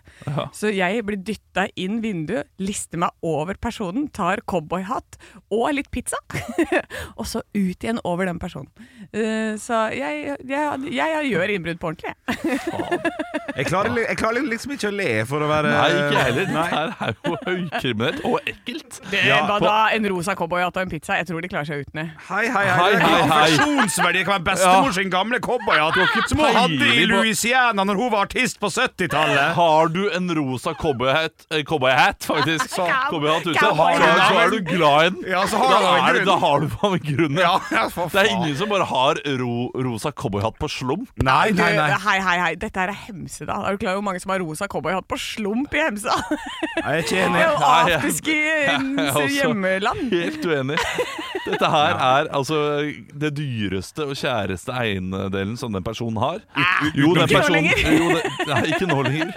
Speaker 4: Så jeg blir dytta inn vinduet, lister meg over personen, tar cowboyhatt og litt pizza. og så ut igjen over den personen. Eh, så jeg, jeg, jeg, gjør innbrudd på ordentlig, jeg.
Speaker 2: Jeg, klarer, li- jeg klarer liksom ikke å le for å være
Speaker 3: Nei, ikke heller. Det her er jo høykriminelt og ekkelt. Ja,
Speaker 4: Hva
Speaker 3: på-
Speaker 4: da? En rosa cowboyhatt og en pizza? Jeg tror de klarer seg uten det.
Speaker 2: Hei, hei, hei.
Speaker 3: Hei,
Speaker 2: Det er
Speaker 3: hei,
Speaker 2: ikke
Speaker 3: hei.
Speaker 2: Affeksjonsverdi. Det kan være bestemor
Speaker 3: Ja.
Speaker 2: sin gamle cowboyhatt som hun
Speaker 3: peiling
Speaker 2: hadde i
Speaker 3: på-
Speaker 2: Louisiana når hun var artist på 70-tallet.
Speaker 3: Har du en rosa cowboyhatt, eh, cowboyhatt faktisk, så- cowboyhatt ute,
Speaker 2: Cowboyhatt.
Speaker 3: så, er- så er du glad i den.
Speaker 2: Ja, så har du
Speaker 3: da,
Speaker 2: en
Speaker 3: er det,
Speaker 2: grunn.
Speaker 3: da har du faen meg grunn.
Speaker 2: Ja, ja, for
Speaker 3: Det er
Speaker 2: faen.
Speaker 3: ingen som bare har ro, rosa cowboyhatt på slump.
Speaker 2: Nei,
Speaker 4: Du,
Speaker 2: nei, nei.
Speaker 4: Hei, hei, hei. Dette her er Hemsedal. Er du klar over hvor mange som har rosa cowboyhatt på slump i Hemsedal?
Speaker 2: Jeg er ikke
Speaker 4: Det
Speaker 2: enig.
Speaker 4: er jo
Speaker 3: Nei, jeg- jeg er
Speaker 4: afterski
Speaker 3: også-
Speaker 4: hjemmeland.
Speaker 3: Helt uenig. Dette her er altså det dyreste og kjæreste eiendelen som den personen har. Jo, den
Speaker 4: Ikke nå
Speaker 3: personen-
Speaker 4: lenger.
Speaker 3: Jo, det, nei, ikke nå lenger.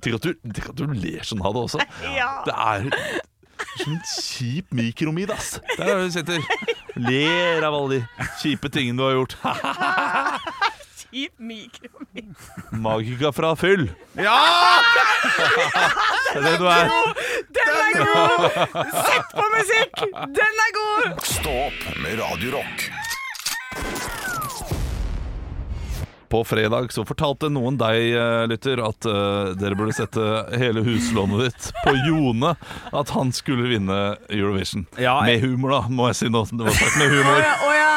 Speaker 3: Tenk at, du, tenk at du ler sånn av det også.
Speaker 4: Ja.
Speaker 3: Det er sånn kjip mikromid, ass. Der er du sitter. Ler av alle de kjipe tingene du har gjort.
Speaker 4: Kjip mikro.
Speaker 3: Magika fra fyll.
Speaker 2: Ja!
Speaker 3: Det er det du er.
Speaker 4: Den er god! Sett på musikk! Den er god!
Speaker 1: Stå opp med Radio Rock.
Speaker 3: på fredag så fortalte noen deg, eh, lytter, at eh, dere burde sette hele huslånet ditt på Jone. At han skulle vinne Eurovision.
Speaker 2: Ja, jeg-
Speaker 3: Med humor, da, må jeg si nå. Det var sagt med humor.
Speaker 4: Å ja!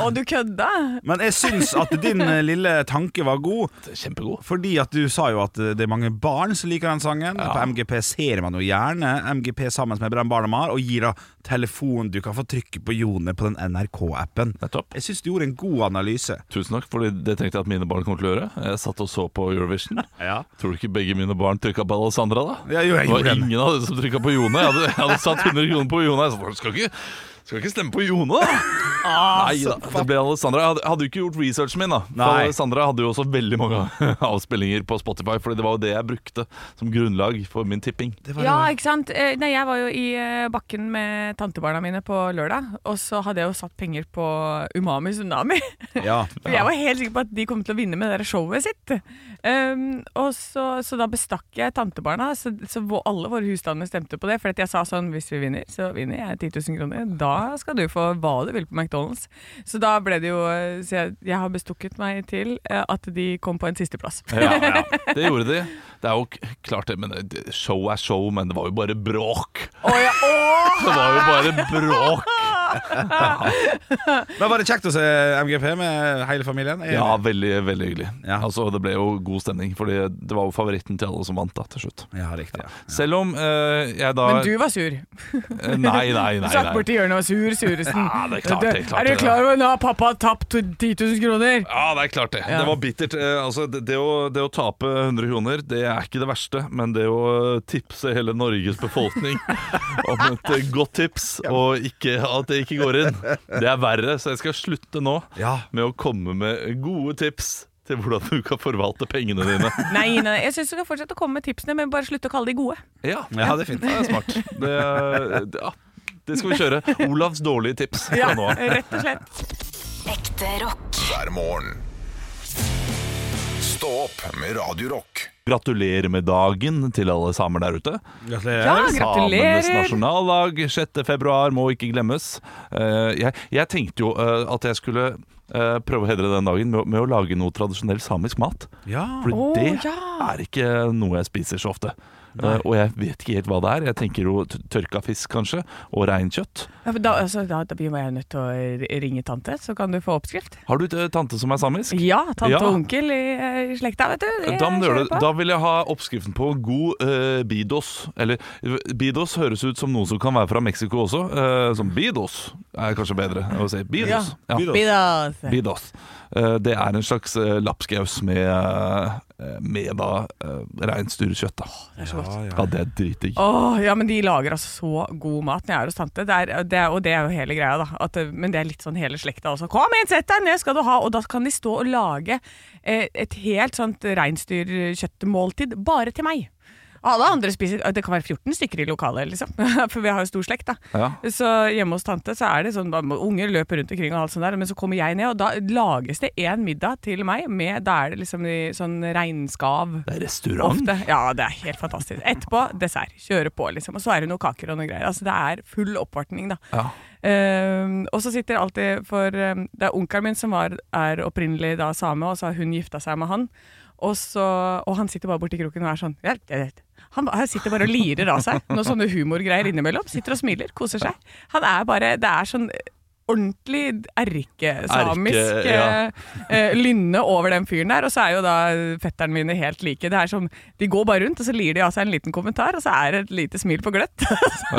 Speaker 4: Og du kødda?
Speaker 2: Men jeg syns at din eh, lille tanke var god,
Speaker 3: Kjempegod.
Speaker 2: fordi at du sa jo at eh, det er mange barn som liker den sangen. På MGP ser man jo gjerne MGP sammen med Brenn Barnemar og gir da telefon du kan få trykke på Jone på den NRK-appen.
Speaker 3: Nettopp.
Speaker 2: Jeg syns du gjorde en god analyse.
Speaker 3: Tusen takk, for det tenkte jeg at mine barn kommer til å gjøre. Jeg satt og så på Eurovision. Tror du ikke begge mine barn trykka på Alessandra, da?
Speaker 2: Ja, jo, jeg
Speaker 3: det var
Speaker 2: gjorde det.
Speaker 3: ingen av dere som trykka på Jone. Jeg hadde, jeg hadde satt 100 kroner på Jone. Jeg sa, skal ikke, skal ikke stemme på Jone, da! Nei da, det ble Alessandra. Jeg hadde, hadde jo ikke gjort researchen min, da. For
Speaker 2: Ah, Nei.
Speaker 3: Alessandra hadde jo også veldig mange avspillinger på Spotify, Fordi det var jo det jeg brukte som grunnlag for min tipping.
Speaker 4: Ja, ikke sant? Eh, Nei, jeg var jo i eh, bakken med tantebarna mine på lørdag, og så hadde jeg jo satt penger på Umami Tsunami.
Speaker 2: Ja.
Speaker 4: For jeg var helt sikker på at de kom til å vinne med det der showet sitt. Um, og så, så da bestakk jeg tantebarna, så, så vå- alle våre husstander stemte på det. For at jeg sa sånn hvis vi vinner, så vinner jeg 10 000 kroner. Da skal du få hva du vil på McDonald's. Så da ble det jo Så jeg, jeg har bestukket meg til eh, at de kom på en sisteplass.
Speaker 3: Ja, ja, Det gjorde de. Det er jo k- klart det, men det- show er show, men det var jo bare bråk.
Speaker 4: Å, ja, å!
Speaker 3: Det var jo bare bråk.
Speaker 2: Da var det kjekt å se MGP med hele familien. Jeg-
Speaker 3: Ja, veldig, veldig hyggelig.
Speaker 2: Ja.
Speaker 3: Altså, det ble jo god stemning, for det var jo favoritten til alle som vant da, til slutt.
Speaker 2: ja riktig. Ja.
Speaker 3: Selv om eh, jeg da Eh,
Speaker 4: Men du var sur.
Speaker 3: Nei, nei, nei.
Speaker 4: Du
Speaker 3: nei.
Speaker 4: satt borti hjørnet og var sur, suresen.
Speaker 3: Ja, det er klart det, klart
Speaker 4: er
Speaker 3: det,
Speaker 4: du
Speaker 3: da.
Speaker 4: klar over at nå har pappa tapt 10 000 kroner?
Speaker 3: Ja, det er klart det.
Speaker 4: Ja.
Speaker 3: Det var bittert. Eh, altså, det, det, å, det å tape 100 kroner, det er ikke det verste, men det å eh, tipse hele Norges befolkning om et eh, godt tips, og ikke, at det ikke går inn, det er verre. Så jeg skal slutte nå
Speaker 2: Ja.
Speaker 3: med å komme med gode tips til hvordan du kan forvalte pengene dine.
Speaker 4: Nei, nei, jeg syns du skal fortsette å komme med tipsene, men bare slutte å kalle de gode.
Speaker 3: Ja,
Speaker 2: Ja, det er fint.
Speaker 3: Det er smart. Det, det, ja, det skal vi kjøre. Olavs dårlige tips fra
Speaker 4: Ja,
Speaker 3: nå av.
Speaker 4: rett og slett.
Speaker 6: Ekte rock.
Speaker 1: hver morgen. Stå opp med Radio Rock.
Speaker 3: Gratulerer med dagen til alle samer der ute.
Speaker 4: Ja,
Speaker 2: Gratulerer.
Speaker 4: gratulerer!
Speaker 3: Samenes nasjonaldag 6. februar må ikke glemmes. Eh, jeg, jeg tenkte jo eh, at jeg skulle eh, prøve å hedre den dagen med, å- med å lage noe tradisjonell samisk mat.
Speaker 2: Ja.
Speaker 3: For
Speaker 4: Å,
Speaker 3: det
Speaker 4: ja.
Speaker 3: er ikke noe jeg spiser så ofte. Eh, og jeg vet ikke helt hva det er. Jeg tenker jo t- tørka fisk, kanskje, og reinkjøtt.
Speaker 4: Ja, men da, altså, da, da blir jeg nødt til å ringe tante, så kan du få oppskrift.
Speaker 3: Har du eh, tante som er samisk?
Speaker 4: Ja, tante
Speaker 3: Ja.
Speaker 4: og onkel i, eh, i slekta, vet du. Det
Speaker 3: Da, må du gjøre
Speaker 4: kjører
Speaker 3: det.
Speaker 4: på.
Speaker 3: da vil jeg ha oppskriften på god eh, bidos. Eller eh, bidos høres ut som noe som kan være fra Mexico også. Eh, som bidos er kanskje bedre å si. Bidos. Ja.
Speaker 4: Bidas.
Speaker 3: Bidos. Eh, det er en slags eh, lapskaus med, eh, med da eh, reinsdyrkjøtt. da.
Speaker 4: Det er så godt.
Speaker 3: Ja, det er dritdigg.
Speaker 4: Åh, ja, men de lager altså så god mat når jeg er hos tante. Det er, det er, og det er jo hele greia, da. At, eh, men det er litt sånn hele slekta også. Kom inn, sett deg ned, skal du ha! Og da kan de stå og lage eh, et helt sånt reinsdyrkjøttmåltid bare til meg. Alle andre spiser eh, Det kan være 14 stykker i lokalet, liksom. For vi har jo stor slekt, da.
Speaker 3: Ja.
Speaker 4: Så hjemme hos tante så er det sånn da må- Unger løper rundt omkring og alt sånt der, men så kommer jeg ned, og da lages det én middag til meg med Da er det liksom i sånn reinskav.
Speaker 3: Det er restaurant.
Speaker 4: Ofte. Ja, det er helt fantastisk. Etterpå dessert. Kjøre på, liksom. Og så er det noen kaker og noen greier. Altså, det er full oppvartning, da.
Speaker 3: Ja.
Speaker 4: Ehm, og så sitter alltid For ehm, det er onkelen min som var, er opprinnelig da same, og så har hun gifta seg med han. Og, så, og han sitter bare borti kroken og er sånn ja, ja, ja. Han ba- han sitter bare og lirer av seg noen sånne humorgreier innimellom. Sitter og smiler, koser seg. Han er bare Det er sånn ordentlig erkesamisk
Speaker 3: Erke, ja.
Speaker 4: eh, eh, lynne over den fyren der. Og så er jo da fetterne mine helt like. Det er som, De går bare rundt, og så lir de av seg en liten kommentar, og så er det et lite smil på gløtt.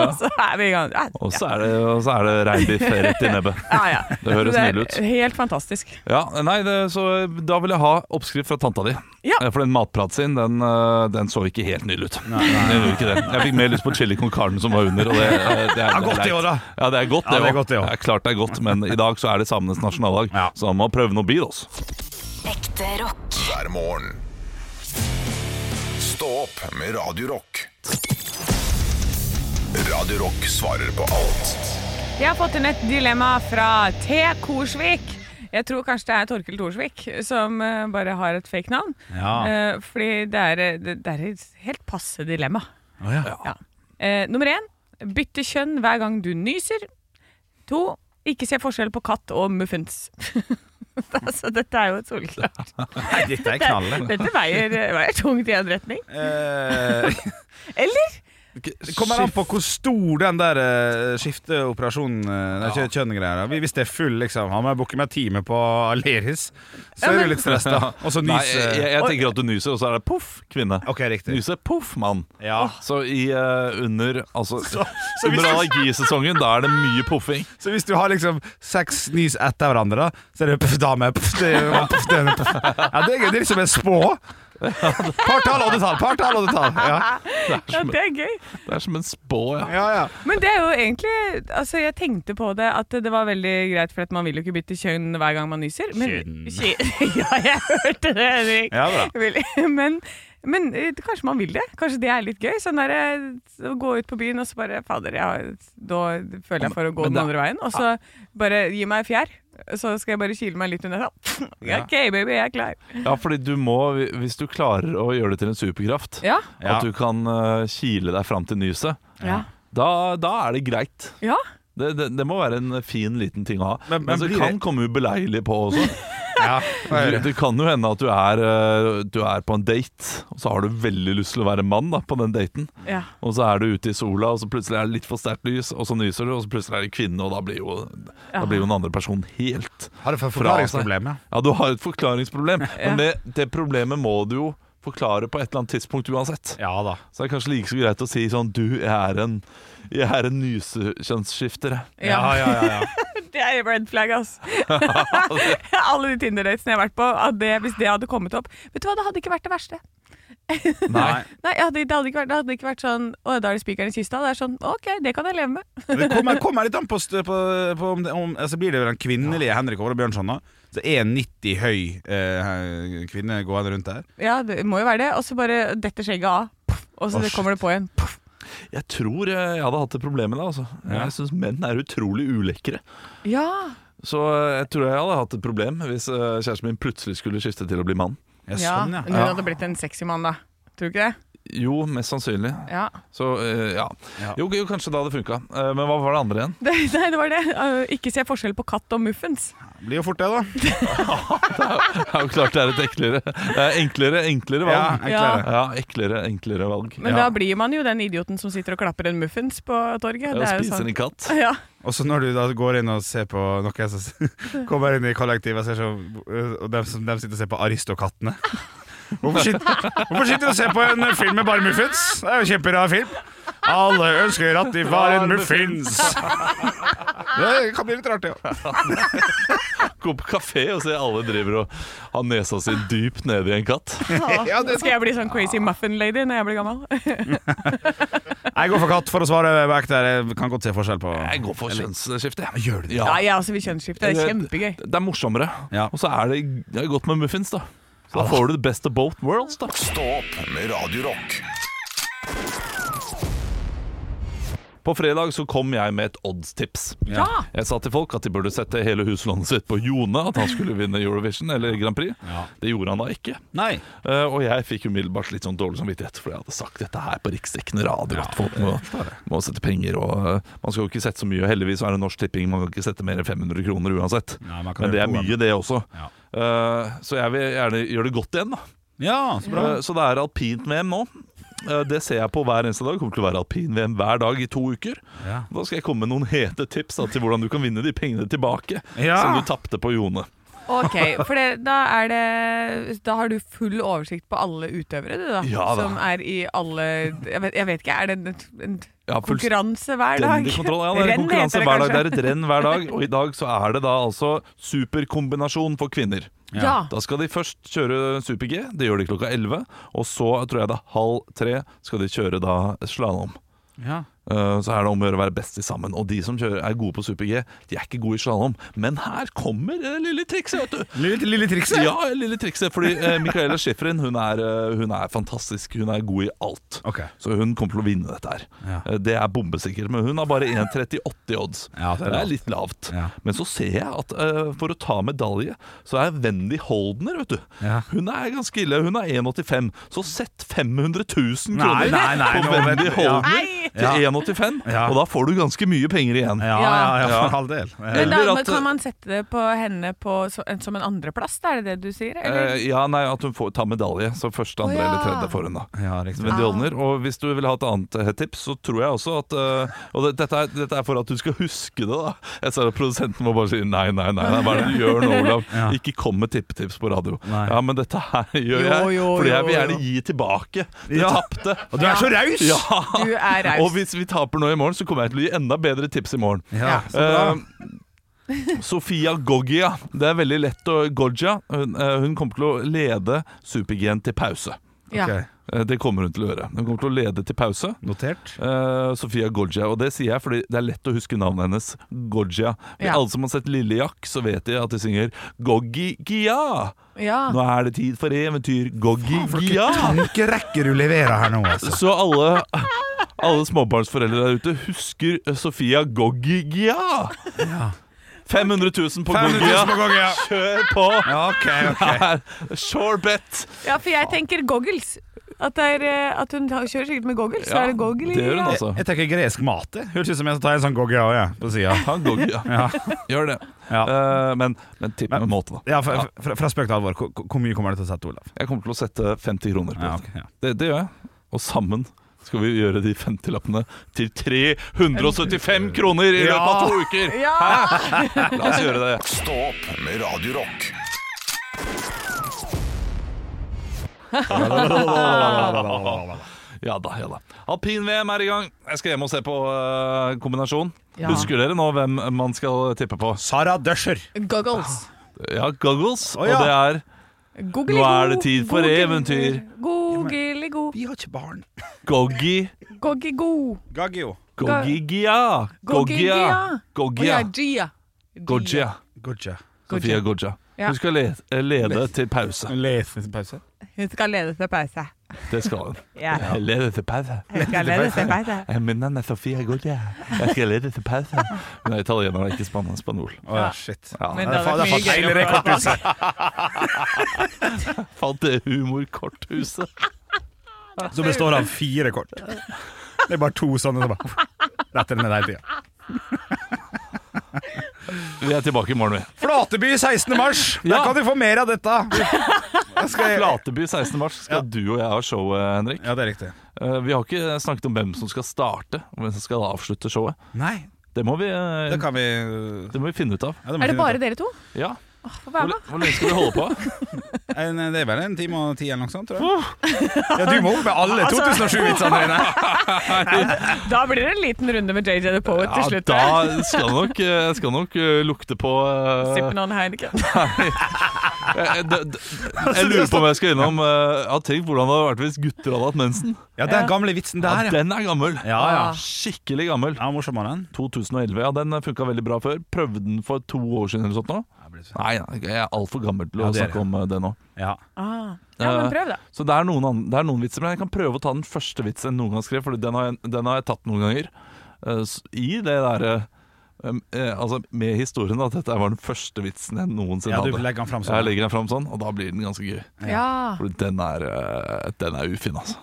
Speaker 4: Og så er vi i gang. Ja,
Speaker 3: Og så er det, og så er det reinbiff rett i nebbet.
Speaker 4: ja, ja.
Speaker 3: Det høres
Speaker 4: er
Speaker 3: nydelig ut.
Speaker 4: Helt fantastisk.
Speaker 3: Ja, nei, det, så Da vil jeg ha oppskrift fra tanta di.
Speaker 4: Ja.
Speaker 3: Eh, For den matpraten sin, den, eh, den så ikke helt nydelig ut. Den gjorde ikke det. Jeg fikk mer lyst på chili con carne som var under. Og det, eh, det, er,
Speaker 2: godt det
Speaker 3: leit.
Speaker 2: også, da.
Speaker 3: Ja, det er godt,
Speaker 2: Ja, det er
Speaker 3: også.
Speaker 2: godt det også.
Speaker 3: er klart det er godt, men i dag så er det samenes nasjonaldag,
Speaker 2: Ja.
Speaker 3: så man må prøve noe bidos.
Speaker 6: Ekte rock.
Speaker 1: hver morgen. Stå opp med Radio Rock. Radio Rock svarer på alt
Speaker 4: Jeg har fått inn et dilemma fra T. Korsvik. Jeg tror kanskje det er Torkel Thorsvik som eh, bare har et fake navn.
Speaker 2: Ja.
Speaker 4: Eh, fordi det er, eh, det, det er et helt passe dilemma.
Speaker 2: Å, ja.
Speaker 4: Ja. Eh, nummer én bytte kjønn hver gang du nyser. To ikke se forskjell på katt og muffins. podkast. Altså, dette er jo et soleklart
Speaker 2: Nei, dette er knallet.
Speaker 4: Dette veier, veier tungt i en retning.
Speaker 2: Eh,
Speaker 4: Eller?
Speaker 2: Det kommer an på hvor stor den der eh, skifteoperasjonen uh, ja. kjønngreia er. Hvis det er full, liksom Har man booket meg time på Aleris, så er du litt stressa. Og så
Speaker 3: Nei,
Speaker 2: nys eh,
Speaker 3: jeg, jeg, jeg tenker at du nyser, og så er det poff, kvinne.
Speaker 2: OK, riktig.
Speaker 3: Nyser poff, mann.
Speaker 2: Ja.
Speaker 3: Så i, eh, under altså,
Speaker 2: så hvis-
Speaker 3: Under allergisesongen, da er det mye poffing.
Speaker 2: Så hvis du har liksom seks nys etter hverandre, da, så er det puff dame, puff det, mann, puff det, puff. Ja, det, er, det er liksom en spå. Partall, oddetall, partall, oddetall. Ja.
Speaker 3: Det er
Speaker 4: Ja,
Speaker 3: som,
Speaker 4: det er gøy.
Speaker 3: det er som en spå, ja.
Speaker 2: ja, ja.
Speaker 4: Men det er jo egentlig Altså, jeg tenkte på det at det var veldig greit, for at man vil jo ikke bytte kjønn hver gang man nyser. Men, Kjønn. Ja, jeg hørte det, Henrik.
Speaker 2: Ja, bra.
Speaker 4: Vil- Men, men eh, kanskje man vil det? Kanskje det er litt gøy? Sånn der, eh, å gå ut på byen og så bare Fader, ja, da føler jeg for å gå
Speaker 3: Men
Speaker 4: den
Speaker 3: det-
Speaker 4: andre veien. Og så bare gi meg fjær. Så skal jeg bare kile meg litt under sånn.
Speaker 2: Ja.
Speaker 4: OK, baby, jeg er klar.
Speaker 3: ja. Fordi du må, hvis du klarer å gjøre det til en superkraft,
Speaker 4: Ja.
Speaker 2: Ja.
Speaker 3: at du kan eh, kile deg fram til nyset,
Speaker 4: Ja.
Speaker 3: da, da er det greit.
Speaker 4: ja.
Speaker 3: Det, det, det må være en fin, liten ting å ha.
Speaker 2: Men-
Speaker 3: Men,
Speaker 2: men
Speaker 3: så
Speaker 2: blir
Speaker 3: kan
Speaker 2: det-
Speaker 3: komme ubeleilig på også.
Speaker 2: ja.
Speaker 3: Du,
Speaker 2: ja.
Speaker 3: det kan jo hende at du er, eh, du er på en date, og så har du veldig lyst til å være mann da, på den daten.
Speaker 4: ja.
Speaker 3: Og så er du ute i sola, og så plutselig er det litt for sterkt lys, og så nyser du, og så plutselig er det kvinne, og da blir jo, da blir jo den andre personen helt
Speaker 2: Har du
Speaker 3: fra seg.
Speaker 2: forklaringsproblem? Ja.
Speaker 3: Ja, du har et forklaringsproblem,
Speaker 4: Ja.
Speaker 3: men det, det problemet må du jo forklare på et eller annet tidspunkt uansett.
Speaker 2: ja da.
Speaker 3: Så det er kanskje like så greit å si sånn Du, jeg er en, jeg er en nysekjønnsskifter. jeg.
Speaker 2: Ja, ja, ja. ja.
Speaker 4: Det er red flag, ass. Alle de Tinder-datene jeg har vært på, at det, hvis det hadde kommet opp Vet du hva, det hadde ikke vært det verste.
Speaker 3: Nei.
Speaker 4: Nei, jeg hadde, det, hadde ikke vært, det hadde ikke vært sånn Å, da er det spikeren i kista. Det er sånn OK, det kan jeg leve med.
Speaker 2: Men Det kommer, kommer litt an på, stø- på, på om, det, om altså Blir det vel den kvinnelige Henrik Åre Bjørnson, da? Så 1,90 høy eh, kvinne gående rundt der.
Speaker 4: Ja, det må jo være det. Og så bare detter skjegget av. Puff, og så
Speaker 2: Å,
Speaker 4: det kommer det på igjen. Puff.
Speaker 3: Jeg tror eh, jeg hadde hatt et problem med det. Altså.
Speaker 2: Ja.
Speaker 3: Jeg syns menn er utrolig ulekre.
Speaker 4: Ja.
Speaker 3: Så eh, jeg tror jeg hadde hatt et problem hvis eh, kjæresten min plutselig skulle skifte til å bli mann.
Speaker 2: Ja, sånn, ja.
Speaker 4: Men hun hadde blitt en sexy mann, da. Tror du ikke det?
Speaker 3: Jo, mest sannsynlig.
Speaker 4: Ja.
Speaker 3: Så eh, ja.
Speaker 2: Ja.
Speaker 3: Jo, jo, kanskje da hadde funka. Eh, men hva var det andre igjen?
Speaker 4: det nei, det var det. Uh, ikke se forskjell på katt og muffins.
Speaker 2: Blir jo fort det, da.
Speaker 3: Det er jo klart det er et eklere, det er enklere, enklere
Speaker 2: Ja,
Speaker 3: valg.
Speaker 2: enklere.
Speaker 3: Ja, eklere, enklere valg.
Speaker 4: Men
Speaker 2: Ja.
Speaker 4: da blir man jo den idioten som sitter og klapper en muffins på torget.
Speaker 3: Jeg
Speaker 4: Det er jo
Speaker 3: spiser
Speaker 4: sånn.
Speaker 3: en katt.
Speaker 4: Ja.
Speaker 2: Og så når du da går inn og ser på noen som s- kommer inn i kollektivet, og, ser så, og de, som, de sitter og ser på Aristokattene. Hvorfor sitter, hvorfor sitter du og ser på en film med bare muffins? Det er jo en kjemperar film. Alle ønsker at de var en muffins. Det kan bli litt rart, det òg.
Speaker 3: Gå på kafé og se alle driver og har nesa si dypt nede i en katt.
Speaker 2: Ja, det-
Speaker 4: Skal jeg bli sånn crazy muffin lady når jeg blir gammel?
Speaker 2: Jeg går for katt, for å svare back der. Jeg kan godt se forskjell på
Speaker 3: Jeg går for kjønnsskifte. jeg. Eh,
Speaker 2: Gjør du det?
Speaker 4: Ja, jeg også vil kjønnsskifte. altså, Det er kjempegøy.
Speaker 3: Det er morsommere.
Speaker 2: Ja.
Speaker 3: Og så er det, det er godt med muffins, da. Så da får du the best of both worlds, da.
Speaker 1: Stå opp med Radio Rock.
Speaker 3: På fredag så kom jeg med et oddstips.
Speaker 4: Ja!
Speaker 3: Jeg sa til folk at de burde sette hele huslånet sitt på Jone, at han skulle vinne Eurovision eller Grand Prix. Det gjorde han da ikke.
Speaker 2: Nei.
Speaker 3: Eh, og jeg fikk umiddelbart litt sånn dårlig samvittighet, for jeg hadde sagt dette her på riksdekkende radio. at folk må, må sette penger, og eh, man skal jo ikke sette så mye. Heldigvis er det Norsk Tipping, man kan ikke sette mer enn 500 kroner uansett.
Speaker 2: Ja, man kan
Speaker 3: Men det
Speaker 2: gjøre
Speaker 3: er
Speaker 2: to
Speaker 3: mye, det også.
Speaker 2: Ja.
Speaker 3: Eh, så jeg vil gjerne gjøre det godt igjen, da.
Speaker 2: Ja, så bra.
Speaker 3: Eh, Så det er alpint-VM nå. Eh, Det ser jeg på hver eneste dag. Kommer til å være alpin-VM hver dag i to uker.
Speaker 2: Ja.
Speaker 3: Da skal jeg komme med noen hete tips da, til hvordan du kan vinne de pengene tilbake
Speaker 2: Ja.
Speaker 3: som du tapte på Jone.
Speaker 4: Ok, for det, da er det Da har du full oversikt på alle utøvere, du, da.
Speaker 3: Ja da.
Speaker 4: Som er i alle jeg vet, jeg vet ikke, er det en, en
Speaker 3: Ja, fullstendig
Speaker 4: konkurranse hver dag?
Speaker 3: kontroll. Ja, det er en
Speaker 4: Renn
Speaker 3: konkurranse
Speaker 4: heter det
Speaker 3: hver dag. Det
Speaker 4: kanskje.
Speaker 3: er et renn hver dag. Og i dag så er det da altså superkombinasjon for kvinner.
Speaker 4: Ja.
Speaker 3: Da skal de først kjøre super-G. Det gjør de klokka 11. Og så tror jeg det er halv tre skal de kjøre da slalåm.
Speaker 2: Ja.
Speaker 3: Eh, Så er det om å gjøre å være best til sammen. Og de som kjører, er gode på super-G, de er ikke gode i slalåm. Men her kommer det lille trikset, vet du.
Speaker 2: Lille, lille trikset.
Speaker 3: Ja, lille trikset. Fordi eh, Michaela Schifrin hun er, eh, hun er fantastisk. Hun er god i alt.
Speaker 2: Ok.
Speaker 3: Så hun kommer til å vinne dette her.
Speaker 2: Ja.
Speaker 3: Eh, Det er bombesikkert. Men hun har bare 1,38 i odds.
Speaker 2: Ja, det er
Speaker 3: det
Speaker 2: lavt.
Speaker 3: er litt lavt.
Speaker 2: Ja.
Speaker 3: Men så ser jeg at eh, for å ta medalje, så er Wendy Holdner, vet du.
Speaker 2: Ja.
Speaker 3: Hun er ganske ille. Hun er 1,85. Så sett 500 000
Speaker 2: Nei,
Speaker 3: kroner
Speaker 2: nei, nei,
Speaker 3: på
Speaker 2: nå vet
Speaker 3: Wendy
Speaker 2: du- ja.
Speaker 3: Holdner.
Speaker 4: Nei!
Speaker 3: til 1,85,
Speaker 2: Ja.
Speaker 3: og da får du ganske mye penger igjen.
Speaker 2: Ja, ja, ja, for all del.
Speaker 4: Men da
Speaker 3: Eller
Speaker 4: men
Speaker 3: at- eh,
Speaker 4: kan man sette det på henne på, så, en- som en andreplass, da? er det det du sier? Eller?
Speaker 3: Eh, ja, nei, at hun får ta medalje. Så første, andre
Speaker 4: Å, ja.
Speaker 3: eller tredje får hun, da.
Speaker 2: Ja, riktig.
Speaker 3: Wendy Holner. Og hvis du vil ha et annet eh, tips, så tror jeg også at eh, Og det, dette, er, dette er for at du skal huske det, da. Jeg ser at produsenten må bare si nei, nei, nei. nei hva er det du gjør nå, Olav?
Speaker 2: Ja.
Speaker 3: Ikke kom med tippetips på radio.
Speaker 2: Nei.
Speaker 3: Ja, men dette her gjør jeg. fordi jeg vil gjerne gi tilbake det
Speaker 2: Ja.
Speaker 3: tapte.
Speaker 2: Og du er så raus!
Speaker 3: Ja.
Speaker 4: Du er raus.
Speaker 3: Og hvis vi taper nå i morgen, så kommer jeg til å gi enda bedre tips i morgen.
Speaker 2: Ja, ehm, så bra.
Speaker 3: Eh, Sofia Goggia. Det er veldig lett å Goggia. Hun, eh, hun kommer til å lede Super-G til pause.
Speaker 4: Ja.
Speaker 2: Ok,
Speaker 3: Eh, Det kommer hun til å gjøre. Hun kommer til å lede til pause.
Speaker 2: Notert.
Speaker 3: Eh, Sofia Goggia, og det sier jeg fordi det er lett å huske navnet hennes. Goggia. Vi
Speaker 4: Ja.
Speaker 3: Alle som har sett Lille Jack, så vet de at de synger Goggia.
Speaker 4: Ja.
Speaker 3: Nå er det tid for eventyr. Goggia.
Speaker 2: Hvilken rekke du leverer her nå, altså.
Speaker 3: Så alle, alle småbarnsforeldre der ute husker eh, Sofia Goggia. 500 000 på
Speaker 2: 500 000
Speaker 3: Goggia.
Speaker 2: på gang, ja.
Speaker 3: Kjør på!
Speaker 2: Ok, ok.
Speaker 3: Sure bet.
Speaker 4: ja, for jeg tenker goggles. At, det er, eh, at hun tar- kjører sikkert med goggles. så
Speaker 3: Ja,
Speaker 4: er det goggel i
Speaker 3: det gjør hun
Speaker 4: ja.
Speaker 3: altså.
Speaker 2: Jeg tenker gresk mat. det. Høres ut som jeg skal ta en sånn goggia òg, jeg, på sida.
Speaker 3: Ta en Goggia.
Speaker 2: Ja.
Speaker 3: Gjør det. Eh, men, men tipp med måte, da.
Speaker 2: Ja, fra, fra, fra spøk til alvor, hvor, hvor mye kommer det til å sette, Olav?
Speaker 3: Jeg kommer til å sette 50 kroner på det.
Speaker 2: Ja, ok, ja.
Speaker 3: Det, det gjør jeg. Og sammen skal vi gjøre de 50-lappene til 375 kroner i
Speaker 2: Ja.
Speaker 3: løpet av to uker!
Speaker 4: Ja!
Speaker 3: La oss gjøre det.
Speaker 1: Stå opp med Radio Rock.
Speaker 3: Ja da, ja da. Alpin-VM er i gang. Jeg skal hjem og se på eh, kombinasjon.
Speaker 4: Ja.
Speaker 3: Husker dere nå hvem man skal tippe på?
Speaker 2: Sara Døscher.
Speaker 4: Goggles.
Speaker 3: Ja, Goggles.
Speaker 2: Å, ja.
Speaker 3: Og det er
Speaker 4: Googeligo,
Speaker 3: Nå er det tid for
Speaker 4: googel-
Speaker 3: eventyr.
Speaker 4: Googeligo,
Speaker 2: Vi har ikke barn.
Speaker 3: Goggi
Speaker 4: goggigo.
Speaker 2: Gaggio.
Speaker 3: Goggigia. Goggia.
Speaker 4: Goggia. Og
Speaker 3: Goggia.
Speaker 4: jeg er Gia.
Speaker 3: Goggia.
Speaker 2: Gotcha.
Speaker 3: Sofia Goggia.
Speaker 4: Ja.
Speaker 3: Hun skal le- lede til pause.
Speaker 2: Lesepause.
Speaker 4: Hun skal lede til pause.
Speaker 3: Det skal hun.
Speaker 4: Ja.
Speaker 3: Lede til pause.
Speaker 4: Hun skal lede til pause.
Speaker 3: Mitt navn Eh, er Sofia Goggia. Jeg skal lede til pause. Hun er italiener, ikke spansk spanjol.
Speaker 2: Å ja, shit.
Speaker 3: Ja.
Speaker 4: Men
Speaker 2: Det er
Speaker 4: det
Speaker 2: fa- det
Speaker 4: hadde
Speaker 2: er
Speaker 4: vært
Speaker 2: fa- feil
Speaker 4: mye gøy.
Speaker 2: rekordhuset.
Speaker 3: Fant det humorkorthuset.
Speaker 2: Som består av fire kort. Det er bare to sånne som bare Detter ned hele tida.
Speaker 3: Vi er tilbake i morgen, vi.
Speaker 2: Flateby 16. mars. Der
Speaker 3: Ja.
Speaker 2: kan du få mer av dette. Jeg Skal
Speaker 3: Flateby 16. mars skal du og jeg ha show, Henrik.
Speaker 2: Ja, det er riktig.
Speaker 3: Eh, Vi har ikke snakket om hvem som skal starte, og hvem som skal avslutte showet.
Speaker 2: Nei,
Speaker 3: Det må vi, eh,
Speaker 2: det kan vi
Speaker 3: det må vi finne ut av.
Speaker 2: ja,
Speaker 4: Er det bare dere to?
Speaker 3: Ja.
Speaker 4: Få
Speaker 3: Hvor,
Speaker 4: være med.
Speaker 3: hvor lenge skal vi holde på?
Speaker 2: En, det er vel en time og ti eller noe sånt, tror jeg. Ja, du må opp med
Speaker 4: Altså-
Speaker 2: alle 2007-vitsene dine.
Speaker 4: Da blir det en liten runde med JJ The Poet
Speaker 3: Ja,
Speaker 4: til slutt.
Speaker 3: da skal nok, eh, skal nok eh, lukte på eh,
Speaker 4: Sippen on Heineken.
Speaker 3: Jeg, d- d- jeg lurer på om jeg skal innom eh, Jeg har tenkt hvordan det hadde vært hvis gutter hadde hatt mensen.
Speaker 2: Ja, den gamle vitsen der,
Speaker 3: Ja, den er gammel.
Speaker 2: Ja,
Speaker 4: Ah.
Speaker 2: ja.
Speaker 3: Skikkelig gammel.
Speaker 2: Ja, morsom var den.
Speaker 3: 2011, ja, den funka veldig bra før. Prøvde den for to år siden eller sånt nå. Nei, nei, jeg er altfor gammel til å
Speaker 2: Ja, det er det.
Speaker 3: snakke om eh, det nå.
Speaker 2: Ja.
Speaker 4: Ah. Ja, men prøv, da.
Speaker 3: Så det er, noen an- det er noen vitser, men jeg kan prøve å ta den første vitsen jeg noen gang skrev, for den har jeg, den har jeg tatt noen ganger. Eh, s- I det derre Altså med historien at dette var den første vitsen jeg noensinne
Speaker 2: Ja, du
Speaker 3: hadde.
Speaker 2: legger den fram sånn.
Speaker 3: Jeg legger den fram sånn, og da blir den ganske gøy.
Speaker 4: Ja.
Speaker 3: For den er, eh, den er ufin, altså.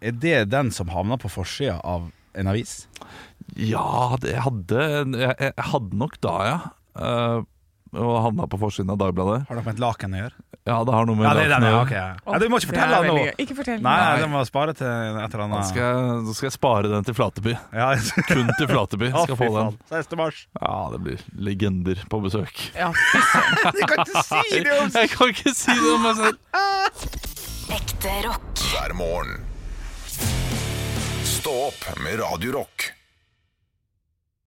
Speaker 2: Er det den som havna på forsida av en avis?
Speaker 3: Ja, det jeg hadde Jeg, jeg hadde nok da, ja. Eh, og havna på forsiden av Dagbladet.
Speaker 2: Har det med et laken å gjøre?
Speaker 3: Ja, det har noe med
Speaker 2: Ja, det er
Speaker 3: å
Speaker 2: den, ja.
Speaker 3: gjøre.
Speaker 2: ok ja, Du må ikke fortelle
Speaker 4: Det
Speaker 2: den
Speaker 4: er
Speaker 2: nå.
Speaker 4: veldig gøy. Ikke fortell.
Speaker 2: Nei, nei, den må spare til et eller
Speaker 3: Da
Speaker 2: annet.
Speaker 3: skal, jeg, da skal jeg spare den til Flateby.
Speaker 2: Ja,
Speaker 3: Kun til Flateby
Speaker 2: Å,
Speaker 3: skal
Speaker 2: fy
Speaker 3: få den.
Speaker 2: faen. 16. mars.
Speaker 3: Ja, det blir legender på besøk.
Speaker 4: Ja,
Speaker 2: Du kan ikke si det! om-
Speaker 3: Jeg kan ikke si det om meg selv!
Speaker 6: Ekte rock.
Speaker 1: hver morgen. Stå opp med Radio Rock.